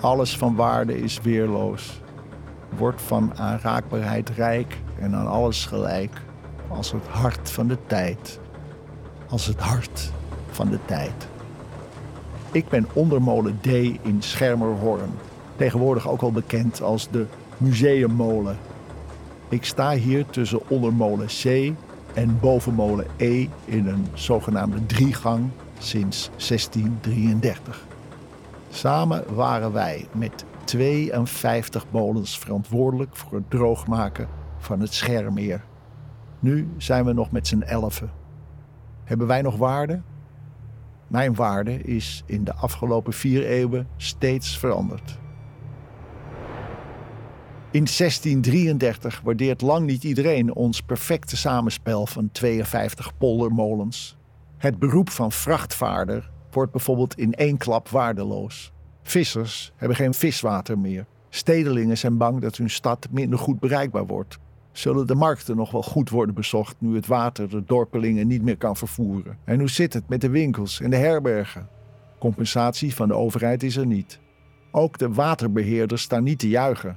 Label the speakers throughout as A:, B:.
A: Alles van waarde is weerloos. Wordt van aanraakbaarheid rijk en aan alles gelijk. Als het hart van de tijd. Als het hart van de tijd. Ik ben ondermolen D in Schermerhorn. Tegenwoordig ook al bekend als de museummolen. Ik sta hier tussen ondermolen C en bovenmolen E in een zogenaamde driegang sinds 1633. Samen waren wij met 52 molens verantwoordelijk voor het droogmaken van het Schermeer. Nu zijn we nog met z'n elfen. Hebben wij nog waarde? Mijn waarde is in de afgelopen vier eeuwen steeds veranderd. In 1633 waardeert lang niet iedereen ons perfecte samenspel van 52 poldermolens. Het beroep van vrachtvaarder wordt bijvoorbeeld in één klap waardeloos. Vissers hebben geen viswater meer. Stedelingen zijn bang dat hun stad minder goed bereikbaar wordt. Zullen de markten nog wel goed worden bezocht nu het water de dorpelingen niet meer kan vervoeren? En hoe zit het met de winkels en de herbergen? Compensatie van de overheid is er niet. Ook de waterbeheerders staan niet te juichen.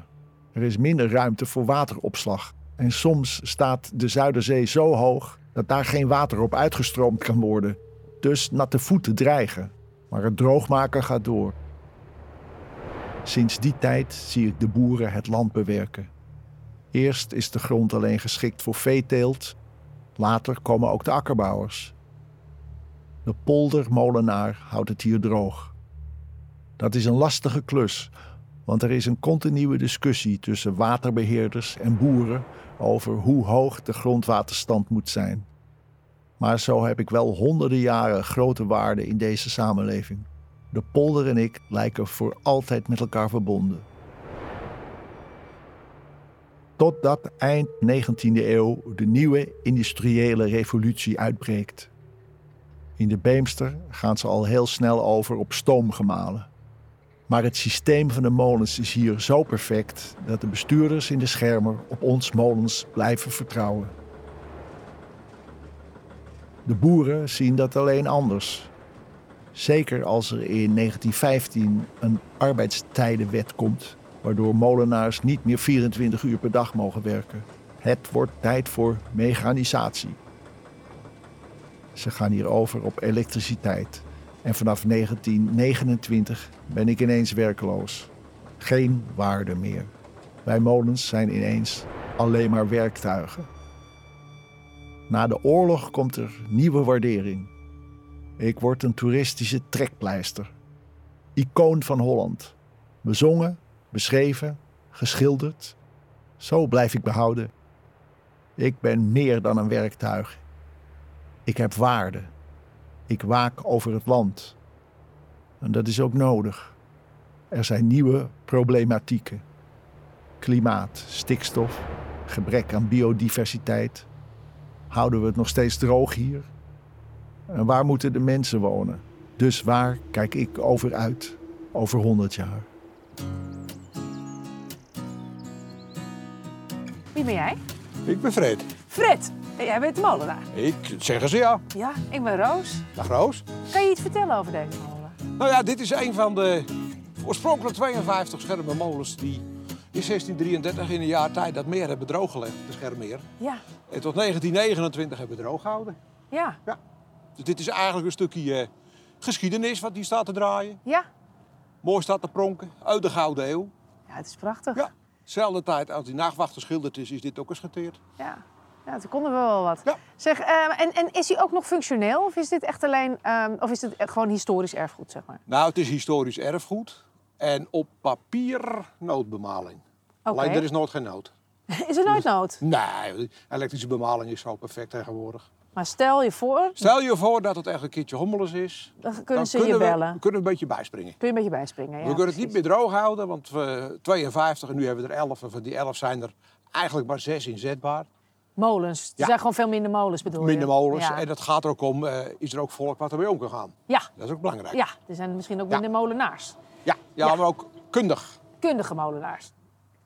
A: Er is minder ruimte voor wateropslag. En soms staat de Zuiderzee zo hoog dat daar geen water op uitgestroomd kan worden. Dus natte voeten dreigen. Maar het droogmaken gaat door. Sinds die tijd zie ik de boeren het land bewerken. Eerst is de grond alleen geschikt voor veeteelt. Later komen ook de akkerbouwers. De poldermolenaar houdt het hier droog. Dat is een lastige klus, want er is een continue discussie tussen waterbeheerders en boeren over hoe hoog de grondwaterstand moet zijn. Maar zo heb ik wel honderden jaren grote waarde in deze samenleving. De polder en ik lijken voor altijd met elkaar verbonden. Totdat eind 19e eeuw de nieuwe industriële revolutie uitbreekt. In de Beemster gaan ze al heel snel over op stoomgemalen. Maar het systeem van de molens is hier zo perfect dat de bestuurders in de schermen op ons molens blijven vertrouwen. De boeren zien dat alleen anders. Zeker als er in 1915 een arbeidstijdenwet komt, waardoor molenaars niet meer 24 uur per dag mogen werken. Het wordt tijd voor mechanisatie. Ze gaan hier over op elektriciteit. En vanaf 1929 ben ik ineens werkloos. Geen waarde meer. Wij molens zijn ineens alleen maar werktuigen. Na de oorlog komt er nieuwe waardering. Ik word een toeristische trekpleister. Icoon van Holland. Bezongen, beschreven, geschilderd. Zo blijf ik behouden. Ik ben meer dan een werktuig. Ik heb waarde. Ik waak over het land. En dat is ook nodig. Er zijn nieuwe problematieken. Klimaat, stikstof, gebrek aan biodiversiteit. Houden we het nog steeds droog hier? En waar moeten de mensen wonen? Dus waar kijk ik over uit over 100 jaar?
B: Wie ben jij?
C: Ik ben Fred.
B: Fred! En jij bent de molenaar.
C: Ik, zeggen ze ja.
B: Ja, ik ben Roos.
C: Dag Roos.
B: Kan je iets vertellen over deze molen?
C: Nou ja, dit is een van de oorspronkelijk 52 schermenmolens die in 1633 in een jaar tijd dat meer hebben drooggelegd, de Schermeer.
B: Ja,
C: En tot 1929 hebben we droog gehouden.
B: ja,
C: Dus dit is eigenlijk een stukje eh, geschiedenis wat hier staat te draaien.
B: ja.
C: Mooi staat te pronken, uit de Gouden Eeuw.
B: Ja, het is prachtig.
C: Ja. Zelfde tijd als die nachtwacht geschilderd is, is dit ook geschatteerd.
B: Ja, ja toen konden we wel wat.
C: Ja.
B: Zeg, ehm, en, en is hij ook nog functioneel? Of is dit echt alleen, ehm, of is het echt gewoon historisch erfgoed, zeg maar?
C: Nou, het is historisch erfgoed. En op papier noodbemaling.
B: Oké.
C: Alleen er is nooit geen nood.
B: Is er nooit nood?
C: Nee, elektrische bemaling is zo perfect tegenwoordig.
B: Maar stel je voor,
C: Stel je voor dat het echt een keertje hommeles is.
B: dan kunnen ze je
C: we,
B: bellen.
C: we kunnen we een beetje bijspringen.
B: Kun je een beetje bijspringen, ja.
C: we kunnen het niet
B: precies.
C: meer droog houden, want we 52 en nu hebben we er 11. En van die 11 zijn er eigenlijk maar 6 inzetbaar.
B: Molens. Er
C: Ja.
B: zijn gewoon veel minder molens, bedoel je?
C: Minder molens.
B: Oh, Ja.
C: En het gaat er ook om, eh, is er ook volk wat ermee om kan gaan.
B: ja,
C: Dat is ook belangrijk.
B: ja. Er zijn misschien ook
C: Ja.
B: minder molenaars.
C: ja, ja,
B: Ja.
C: maar ook kundig.
B: kundige molenaars.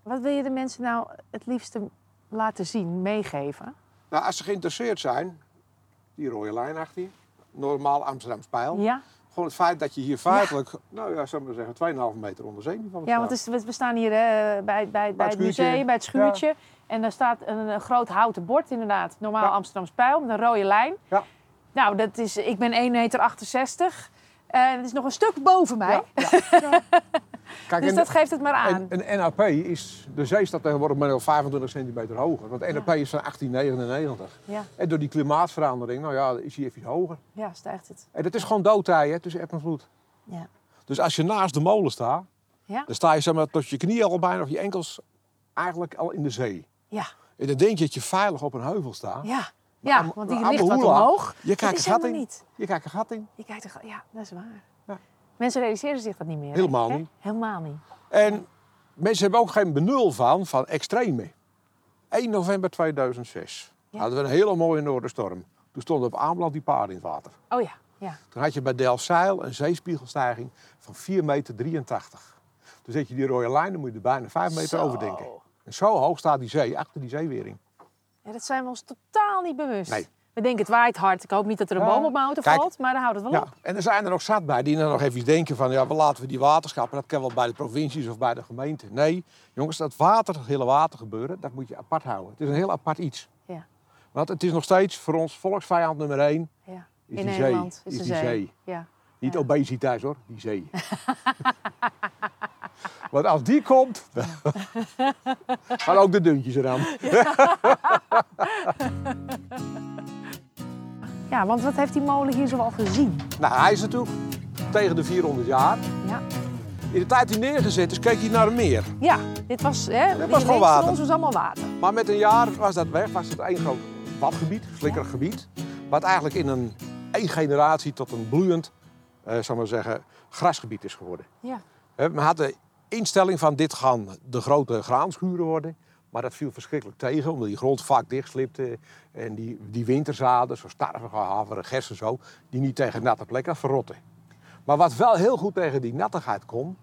B: Wat wil je de mensen nou het liefste laten zien, meegeven?
C: Nou, als ze geïnteresseerd zijn, die rode lijn achter je. Normaal Amsterdams pijl.
B: Ja,
C: Gewoon het feit dat je hier feitelijk, nou ja, zou ik maar zeggen, 2,5 meter onder zeeniveau
B: Ja, want het is- we we staan hier eh, bij, bij, bij het
C: schuurtje.
B: museum, bij het schuurtje. En daar staat een, een groot houten bord, inderdaad. Normaal
C: Ja.
B: Amsterdams pijl, met een rode lijn.
C: Ja.
B: Nou, dat is, ik ben 1,68 meter. En het is nog een stuk boven mij.
C: Kijk,
B: Dus
C: en-
B: dat geeft het maar aan.
C: en, en NAP is, de zee staat tegenwoordig maar al 25 centimeter hoger. Want NAP is van 1899.
B: ja,
C: En door die klimaatverandering, nou ja, is hij even hoger.
B: ja, stijgt het.
C: En dat is gewoon doodtij, hè, tussen eb en vloed.
B: Ja.
C: Dus als je naast de molen staat,
B: Ja.
C: dan sta je zeg maar, tot je knieën al bijna of je enkels eigenlijk al in de zee.
B: Ja,
C: En dan denk je dat je veilig op een heuvel staat.
B: ja. ja
C: Maar-
B: want die
C: maar
B: ligt wat
C: Aboula,
B: omhoog.
C: Je kijkt
B: is
C: een gat in.
B: helemaal niet.
C: Je kijkt een gat in.
B: Je kijkt er, gewoon- ja, dat is waar.
C: Ja.
B: Mensen realiseren zich dat niet meer. hè?
C: Helemaal
B: Hè?
C: niet.
B: Helemaal niet.
C: En mensen hebben ook geen benul van, van extreme. 1 november 2006
B: Ja.
C: hadden we een hele mooie noordenstorm. Toen stonden op Ameland die paarden in het water.
B: Oh ja, ja.
C: Toen had je bij Delfzijl een zeespiegelstijging van 4,83 meter. Toen zet je die rode lijn, dan moet je er bijna 5 meter
B: Zo.
C: over denken. En zo hoog staat die zee, achter die zeewering.
B: Ja, dat zijn we ons totaal niet bewust.
C: Nee.
B: We denken het waait hard. Ik hoop niet dat er een
C: Ja.
B: boom op mijn auto
C: Kijk.
B: valt, maar dan houdt het wel
C: Ja,
B: op.
C: en er zijn er ook zat bij die dan nog even denken van... ja, we laten we die waterschappen, dat kan wel bij de provincies of bij de gemeente. Nee, jongens, dat water, het hele water gebeuren, dat moet je apart houden. Het is een heel apart iets.
B: Ja.
C: Want het is nog steeds voor ons volksvijand nummer één.
B: Ja.
C: Is
B: In
C: die
B: Nederland
C: zee.
B: is,
C: Is
B: de
C: die
B: zee.
C: zee.
B: Ja.
C: Niet
B: Ja.
C: obesitas hoor, die zee. Want als die komt, gaan ook de duntjes eraan.
B: ja, want wat heeft die molen hier zoal gezien?
C: Nou, hij is natuurlijk tegen de 400 jaar.
B: Ja,
C: In de tijd die neergezet is, keek hij naar een meer.
B: ja dit was, hè, die
C: was gewoon
B: links
C: water.
B: Van ons was allemaal water.
C: Maar met een jaar was dat weg, was het één groot wadgebied, slikkerig gebied. Wat eigenlijk in een één generatie tot een bloeiend, eh zal maar zeggen, grasgebied is geworden.
B: Ja.
C: Hè, Men had de instelling van dit gaan de grote graanschuren worden. Maar dat viel verschrikkelijk tegen, omdat die grond vaak dichtslipte. En die, die winterzaden, zo starven, haveren, gersen zo, die niet tegen natte plekken verrotten. Maar wat wel heel goed tegen die nattigheid kon,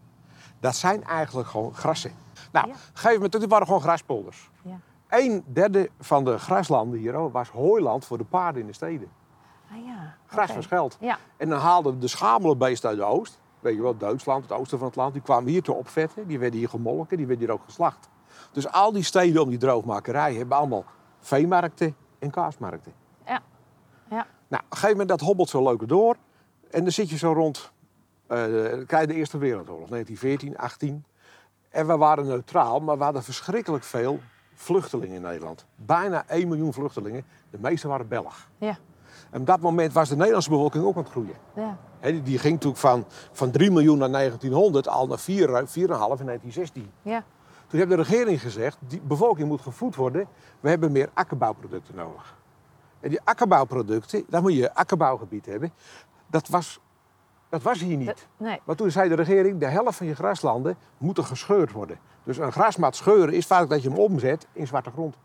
C: dat zijn eigenlijk gewoon grassen. Nou,
B: Ja.
C: geef me gegeven moment, dit waren gewoon graspolders.
B: ja.
C: Een derde van de graslanden hier oh, was hooiland voor de paarden in de steden.
B: Ah, ja.
C: Gras
B: Oké.
C: was geld.
B: Ja.
C: En dan haalden de schamele beesten uit de oost. Weet je wel, Duitsland, het oosten van het land. Die kwamen hier te opvetten. Die werden hier gemolken. Die werden hier ook geslacht. Dus al die steden om die droogmakerij hebben allemaal veemarkten en kaasmarkten.
B: Ja. Ja.
C: Nou, op een gegeven moment dat hobbelt zo leuk door. En dan zit je zo rond, eh dan krijg je de Eerste Wereldoorlog, 1914, 18. En we waren neutraal, maar we hadden verschrikkelijk veel vluchtelingen in Nederland. Bijna 1 miljoen vluchtelingen. De meeste waren Belg.
B: Ja.
C: En op dat moment was de Nederlandse bevolking ook aan het groeien.
B: Ja.
C: Hè, die- die ging natuurlijk van, van 3 miljoen naar 1900 al naar eh, 4, 4,5 in 1916.
B: Ja.
C: Toen heeft de regering gezegd, die bevolking moet gevoed worden. We hebben meer akkerbouwproducten nodig. En die akkerbouwproducten, daar moet je een akkerbouwgebied hebben. Dat was, dat was hier niet.
B: Nee.
C: Maar toen zei de regering, de helft van je graslanden moeten gescheurd worden. Dus een grasmaat scheuren is vaak dat je hem omzet in zwarte grond.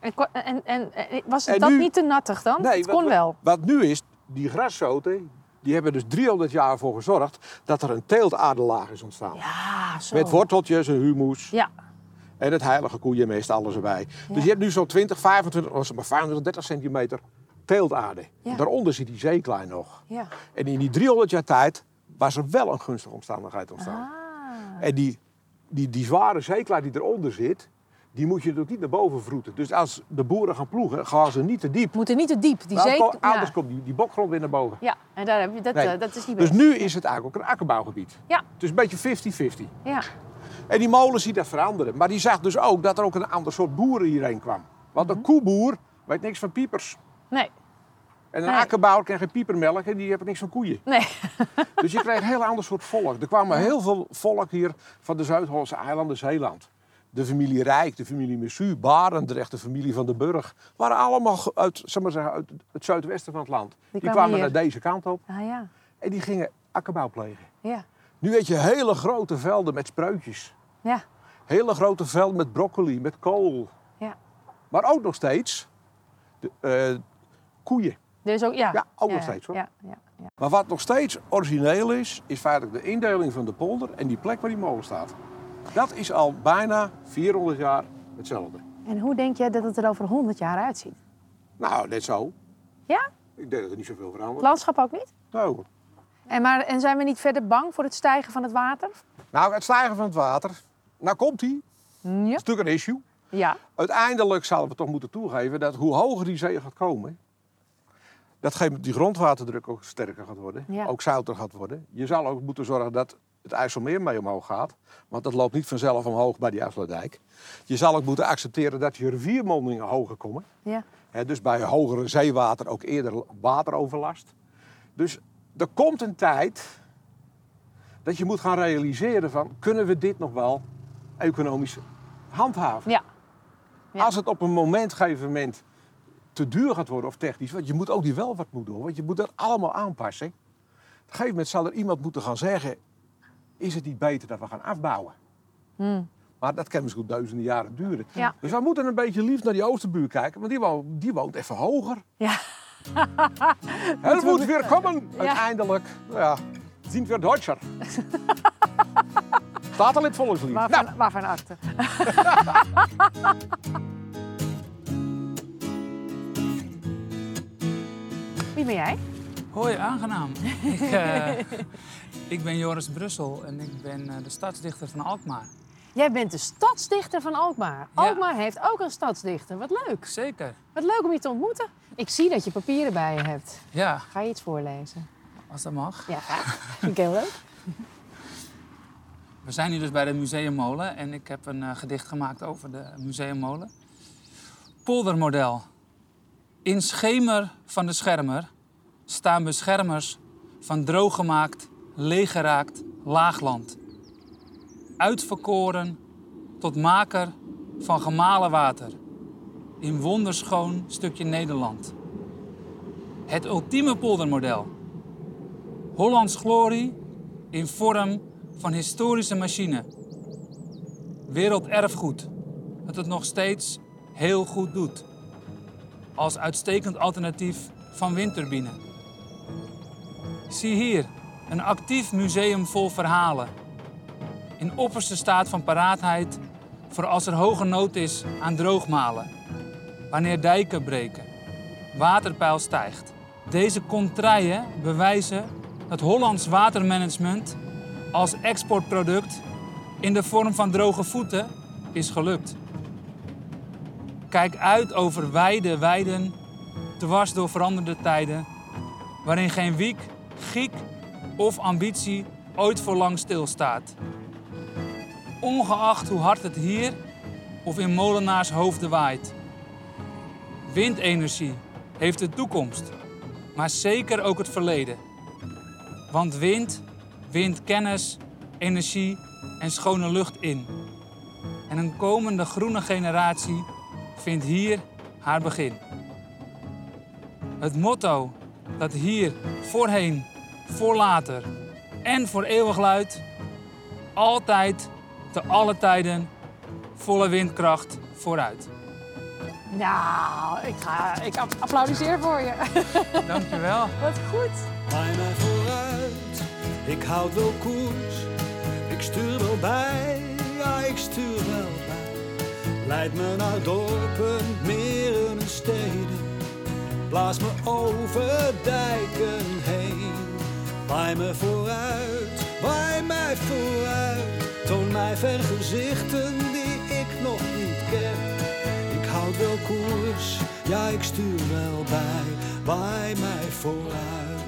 B: En, ko- en, en, en was
C: En
B: dat
C: nu-
B: niet te nattig dan?
C: Nee,
B: het
C: wat-
B: kon
C: wat-
B: wel.
C: Wat nu is, die graszoten, die hebben dus 300 jaar voor gezorgd dat er een teeltaderlaag is ontstaan.
B: Ja, zo.
C: Met worteltjes en humus.
B: Ja.
C: En het heilige koeienmest, alles erbij. Dus je hebt nu zo'n 20, 25, oh, zeg maar 25, 30 centimeter teeltaarde.
B: Ja.
C: En Daaronder zit die zeeklaai nog.
B: Ja.
C: En in die 300 jaar tijd was er wel een gunstige omstandigheid ontstaan.
B: Ah.
C: En die, die, die zware zeeklaar die eronder zit, die moet je natuurlijk niet naar boven vroeten. Dus als de boeren gaan ploegen, gaan ze niet te diep.
B: Moet er niet te diep. Die
C: Want
B: zee...
C: ko- Anders
B: Ja.
C: komt die, die bokgrond weer naar boven.
B: Ja, en daar heb je, dat,
C: Nee.
B: eh, dat is niet
C: Dus
B: best.
C: nu is het eigenlijk ook een akkerbouwgebied.
B: Ja,
C: Dus een beetje 50-50.
B: ja,
C: En die molen ziet dat veranderen. Maar die zag dus ook dat er ook een ander soort boeren hierheen kwam. Want
B: Mhm.
C: een koeboer weet niks van piepers.
B: nee,
C: En een
B: Nee.
C: akkerbouwer krijgt geen piepermelk en die hebben niks van koeien.
B: nee.
C: Dus je kreeg een heel ander soort volk. Er kwamen heel veel volk hier van de Zuid-Hollandse eilanden, dus Zeeland. De familie Rijk, de familie Messu, Barendrecht, de familie van den Burg. waren allemaal ge- uit, zeg maar zeggen, uit het zuidwesten van het land. Die,
B: kwamen
C: kwamen
B: hier.
C: naar deze kant op
B: Ah ja,
C: en die gingen akkerbouw plegen.
B: ja,
C: Nu weet je hele grote velden met spruitjes.
B: ja,
C: Hele grote velden met broccoli, met kool.
B: ja.
C: Maar ook nog steeds de, eh, koeien.
B: Er is Dus ook, ja.
C: Ja, ook nog
B: ja,
C: steeds, hoor.
B: Ja, ja, ja.
C: Maar wat nog steeds origineel is, is feitelijk de indeling van de polder en die plek waar die molen staat. Dat is al bijna 400 jaar hetzelfde.
B: En hoe denk jij dat het er over 100 jaar uitziet?
C: Nou, net zo.
B: Ja?
C: Ik denk dat er niet zoveel
B: Het
C: verandert.
B: landschap ook niet?
C: Nou,
B: En, maar, en zijn we niet verder bang voor het stijgen van het water?
C: Nou, het stijgen van het water. Nou komt hij.
B: Ja.
C: Dat is natuurlijk een issue.
B: ja.
C: Uiteindelijk zouden we toch moeten toegeven dat hoe hoger die zee gaat komen, dat geeft die grondwaterdruk ook sterker gaat worden,
B: Ja.
C: ook zouter gaat worden. Je zal ook moeten zorgen dat het IJsselmeer mee omhoog gaat, want dat loopt niet vanzelf omhoog bij die IJsseldijk. Je zal ook moeten accepteren dat je riviermondingen hoger komen.
B: ja.
C: Hè, dus bij hogere zeewater ook eerder wateroverlast. Dus er komt een tijd dat je moet gaan realiseren van kunnen we dit nog wel economisch handhaven?
B: ja. Ja.
C: Als het op een moment, gegeven moment te duur gaat worden of technisch, want je moet ook die welvaart moet doen, want je moet dat allemaal aanpassen. Op een gegeven moment zal er iemand moeten gaan zeggen: is het niet beter dat we gaan afbouwen?
B: Hm.
C: Maar dat kan misschien duizenden jaren duren.
B: Ja.
C: Dus we moeten een beetje lief naar die oosterbuur kijken, want die woont, die woont even hoger.
B: Ja.
C: Het moet weer komen,
B: Ja.
C: uiteindelijk. Nou ja, het is weer Duitser. Staat al in het volkslied.
B: Waarvan, waarvan acte? Wie ben jij?
D: Hoi, aangenaam. ik, eh, ik ben Joris Brussel en ik ben eh, de stadsdichter van Alkmaar.
B: Jij bent de stadsdichter van Alkmaar. Alkmaar heeft ook een stadsdichter. Wat leuk.
D: Zeker,
B: Wat leuk om je te ontmoeten. Ik zie dat je papieren bij je hebt.
D: ja,
B: Ga je iets voorlezen?
D: als dat mag.
B: Ja, graag. Vind ik heel leuk.
D: We zijn hier dus bij de Museummolen en ik heb een eh, gedicht gemaakt over de Museummolen. Poldermodel. In schemer van de schermer staan beschermers van drooggemaakt, leeggeraakt laagland. Uitverkoren tot maker van gemalen water in wonderschoon stukje Nederland. Het ultieme poldermodel. Hollands glorie in vorm van historische machine. Werelderfgoed dat het nog steeds heel goed doet. Als uitstekend alternatief van windturbine. Zie hier een actief museum vol verhalen. In opperste staat van paraatheid voor als er hoge nood is aan droogmalen. Wanneer dijken breken, waterpeil stijgt. Deze contraien bewijzen dat Hollands watermanagement als exportproduct in de vorm van droge voeten is gelukt. Kijk uit over wijde weiden, dwars door veranderde tijden, waarin geen wiek, giek of ambitie ooit voor lang stilstaat. Ongeacht hoe hard het hier of in molenaars hoofden waait. Windenergie heeft de toekomst, maar zeker ook het verleden. Want wind wint kennis, energie en schone lucht in. En een komende groene generatie vindt hier haar begin. Het motto dat hier voorheen, voor later en voor eeuwig luidt: altijd, te alle tijden, volle windkracht vooruit.
B: Nou, ik, ga, ik app- applaudisseer voor je.
D: Dankjewel.
B: Wat goed.
E: Ga maar vooruit, ik houd wel koers. Ik stuur wel bij, ja ik stuur wel bij. Leid me naar dorpen, meren en steden. Blaas me over dijken heen. Waai me vooruit, waai mij vooruit. Toon mij vergezichten die ik nog niet ken. Ik houd wel koers, ja ik stuur wel bij. Waai mij vooruit.